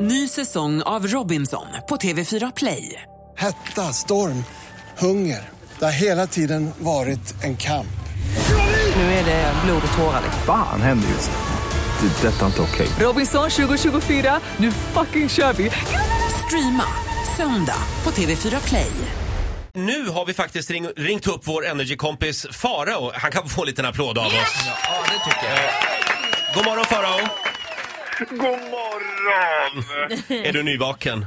Ny säsong av Robinson på TV4 Play. Hetta, storm, hunger. Det har hela tiden varit en kamp. Nu är det blod och tårar. liksom. Fan händer just nu. Det. är Detta är inte okej. Robinson 2024, nu fucking kör vi! Streama söndag på TV4 Play. Nu har vi faktiskt ring, ringt upp vår energikompis Farao. Han kan få en liten applåd av oss. Ja, det tycker jag. God morgon Farao! God morgon! Är du nyvaken?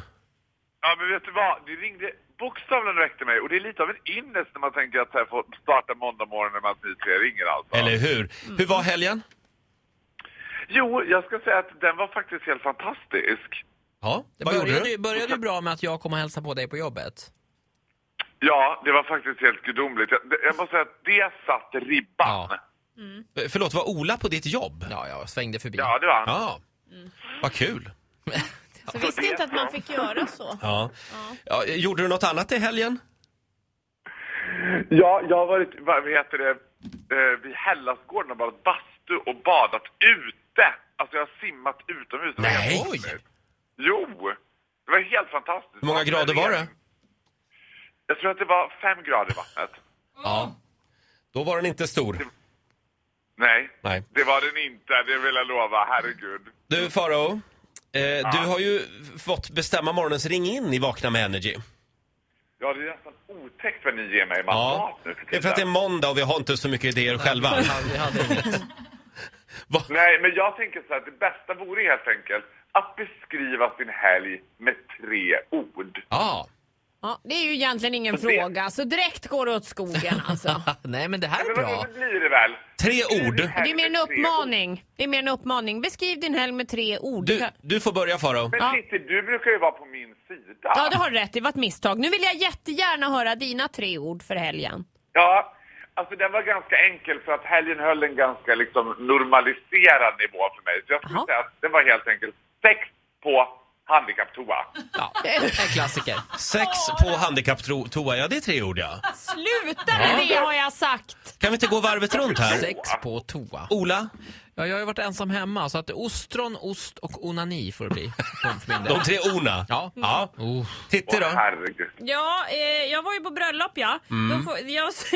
Ja, men vet du vad? Det ringde, bokstavligen väckte mig och det är lite av en ynnest när man tänker att så här får starta måndag morgon när man ni tre ringer alltså. Eller hur? Hur var helgen? Jo, jag ska säga att den var faktiskt helt fantastisk. Ja, Det vad gjorde började, du? ju- började ju bra med att jag kom och hälsade på dig på jobbet. Ja, det var faktiskt helt gudomligt. Jag, det- jag måste säga att det satt ribban. Ja. Ja, Eh, Förlåt, var Ola på ditt jobb? Ja, jag svängde förbi. det var han. Ja, vad kul. Jag visste inte att man fick göra så. Ja. Ja, eh, gjorde du något annat i helgen? Ja, jag har varit, vad heter det, eh, vid Hellasgården och badat bastu och badat ute. Alltså jag har simmat utomhus. Det var Nej. helt otroligt. Jo! Det var helt fantastiskt. Hur många grader var det? Jag tror att det var fem grader i vattnet. Ja. Då var den inte stor. Nej, Nej. det var den inte, det vill jag lova. Herregud. Du Farao, eh, du har ju fått bestämma morgonens ring in i Vakna med Energy. Ja, det är nästan otäckt vad ni ger mig Ja, mandat nu det är för att det är måndag och vi har inte så mycket idéer själva. Vi hade- vi hade inget. Va? Nej, men jag tänker så här, det bästa vore helt enkelt att beskriva sin helg med tre ord. Ja. Ja, det är ju egentligen ingen Det- fråga, så direkt går det åt skogen alltså. Nej, men det här är Men vad bra. det blir det väl? Tre Beskriv ord. din helg Det är mer en med tre ord. uppmaning. Det är mer en uppmaning. Beskriv din helg med tre ord. Du, du får börja Farao. Men Ja. Titti, du brukar ju vara på min sida. Ja, det har du rätt. Det var ett misstag. Nu vill jag jättegärna höra dina tre ord för helgen. Ja, alltså den var ganska enkel för att helgen höll en ganska liksom normaliserad nivå för mig. Så jag skulle Jaha. säga att den var helt enkelt sex på handikapptoa. Ja, en klassiker. Sex på handikapptoa, ja det är tre ord ja. Sluta med det har jag sagt! Kan vi inte gå varvet runt här? Sex på toa. Ola, Ja, jag har ju varit ensam hemma, så att ostron, ost och onani får det bli. Punkt för min del. de tre orna. Ja. ja. Oh. Titti Åh, då? herregud. Ja, eh, jag var ju på bröllop ja. Mm.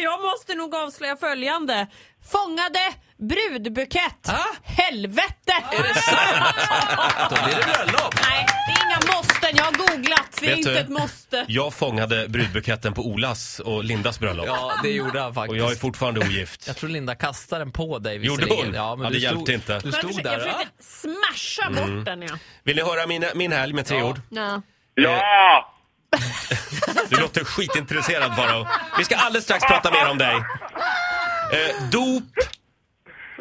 jag, måste nog avslöja följande. Fångade brudbukett. Ah? Helvete! Är det sant? Då blir det bröllop. Nej, det är inga måsten. Jag har googlat. Det är Vet inte du? ett måste. Jag fångade brudbuketten på Olas och Lindas bröllop. Ja, det gjorde han Och jag är faktiskt. fortfarande ogift. Jag tror Linda kastade den på dig Gjorde visserligen. hon? Ja, men Ja, du det hjälpte inte. Du Men stod jag försökte, där jag och... försökte smasha bort den ja. Vill ni höra min, min helg med tre Ja. ord? ja. Ja! Du låter skitintresserad Farao. Vi ska alldeles strax prata mer om dig. Eh, dop,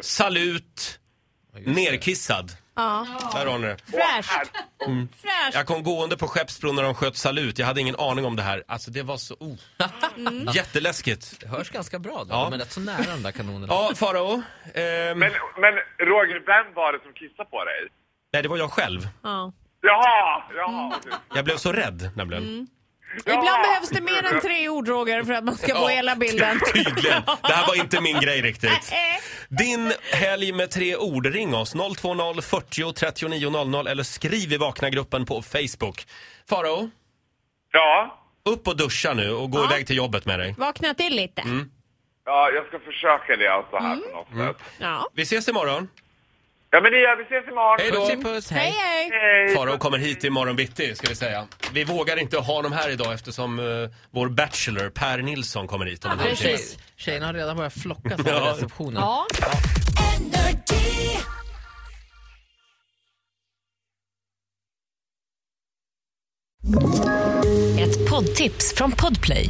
salut, nerkissad. Där har ni det. Fräscht. Mm. Fräscht. Jag kom gående på Skeppsbron när de sköt salut. Jag hade ingen aning om det här. Alltså det var så... Oh. Jätteläskigt. Det hörs ganska bra då, Ja. men rätt så nära de där kanonerna. Ja, Farao. ehm, Men, men Roger, vem var det som kissade på dig? nej, det var jag själv. Ja. Jaha! Jaha! okej. Jag blev så rädd nämligen. Mm. Ibland behövs det mer än tre ord Roger för att man ska få hela bilden. Tydligen. Det här var inte min grej riktigt. Eh, Din helg med tre ord. Ring oss. 020 40 39 00 eller skriv i Vakna-gruppen på Facebook. Farao, Ja. upp och duscha nu och gå iväg till jobbet med dig. Vakna till lite. Ja, jag ska försöka det alltså här på något Mm. sätt. Ja. Vi ses imorgon. Ja, men det gör vi. ses imorgon. Hej Puss då! i puss, Hej hej. hej. Hej. Farao kommer hit imorgon bitti, ska vi säga. Vi vågar inte ha dem här idag eftersom eh, vår bachelor Per Nilsson kommer hit om en halvtimme. Precis. Tjejerna har redan börjat flocka sig Ja. i receptionen. Ja. Ett poddtips från Podplay.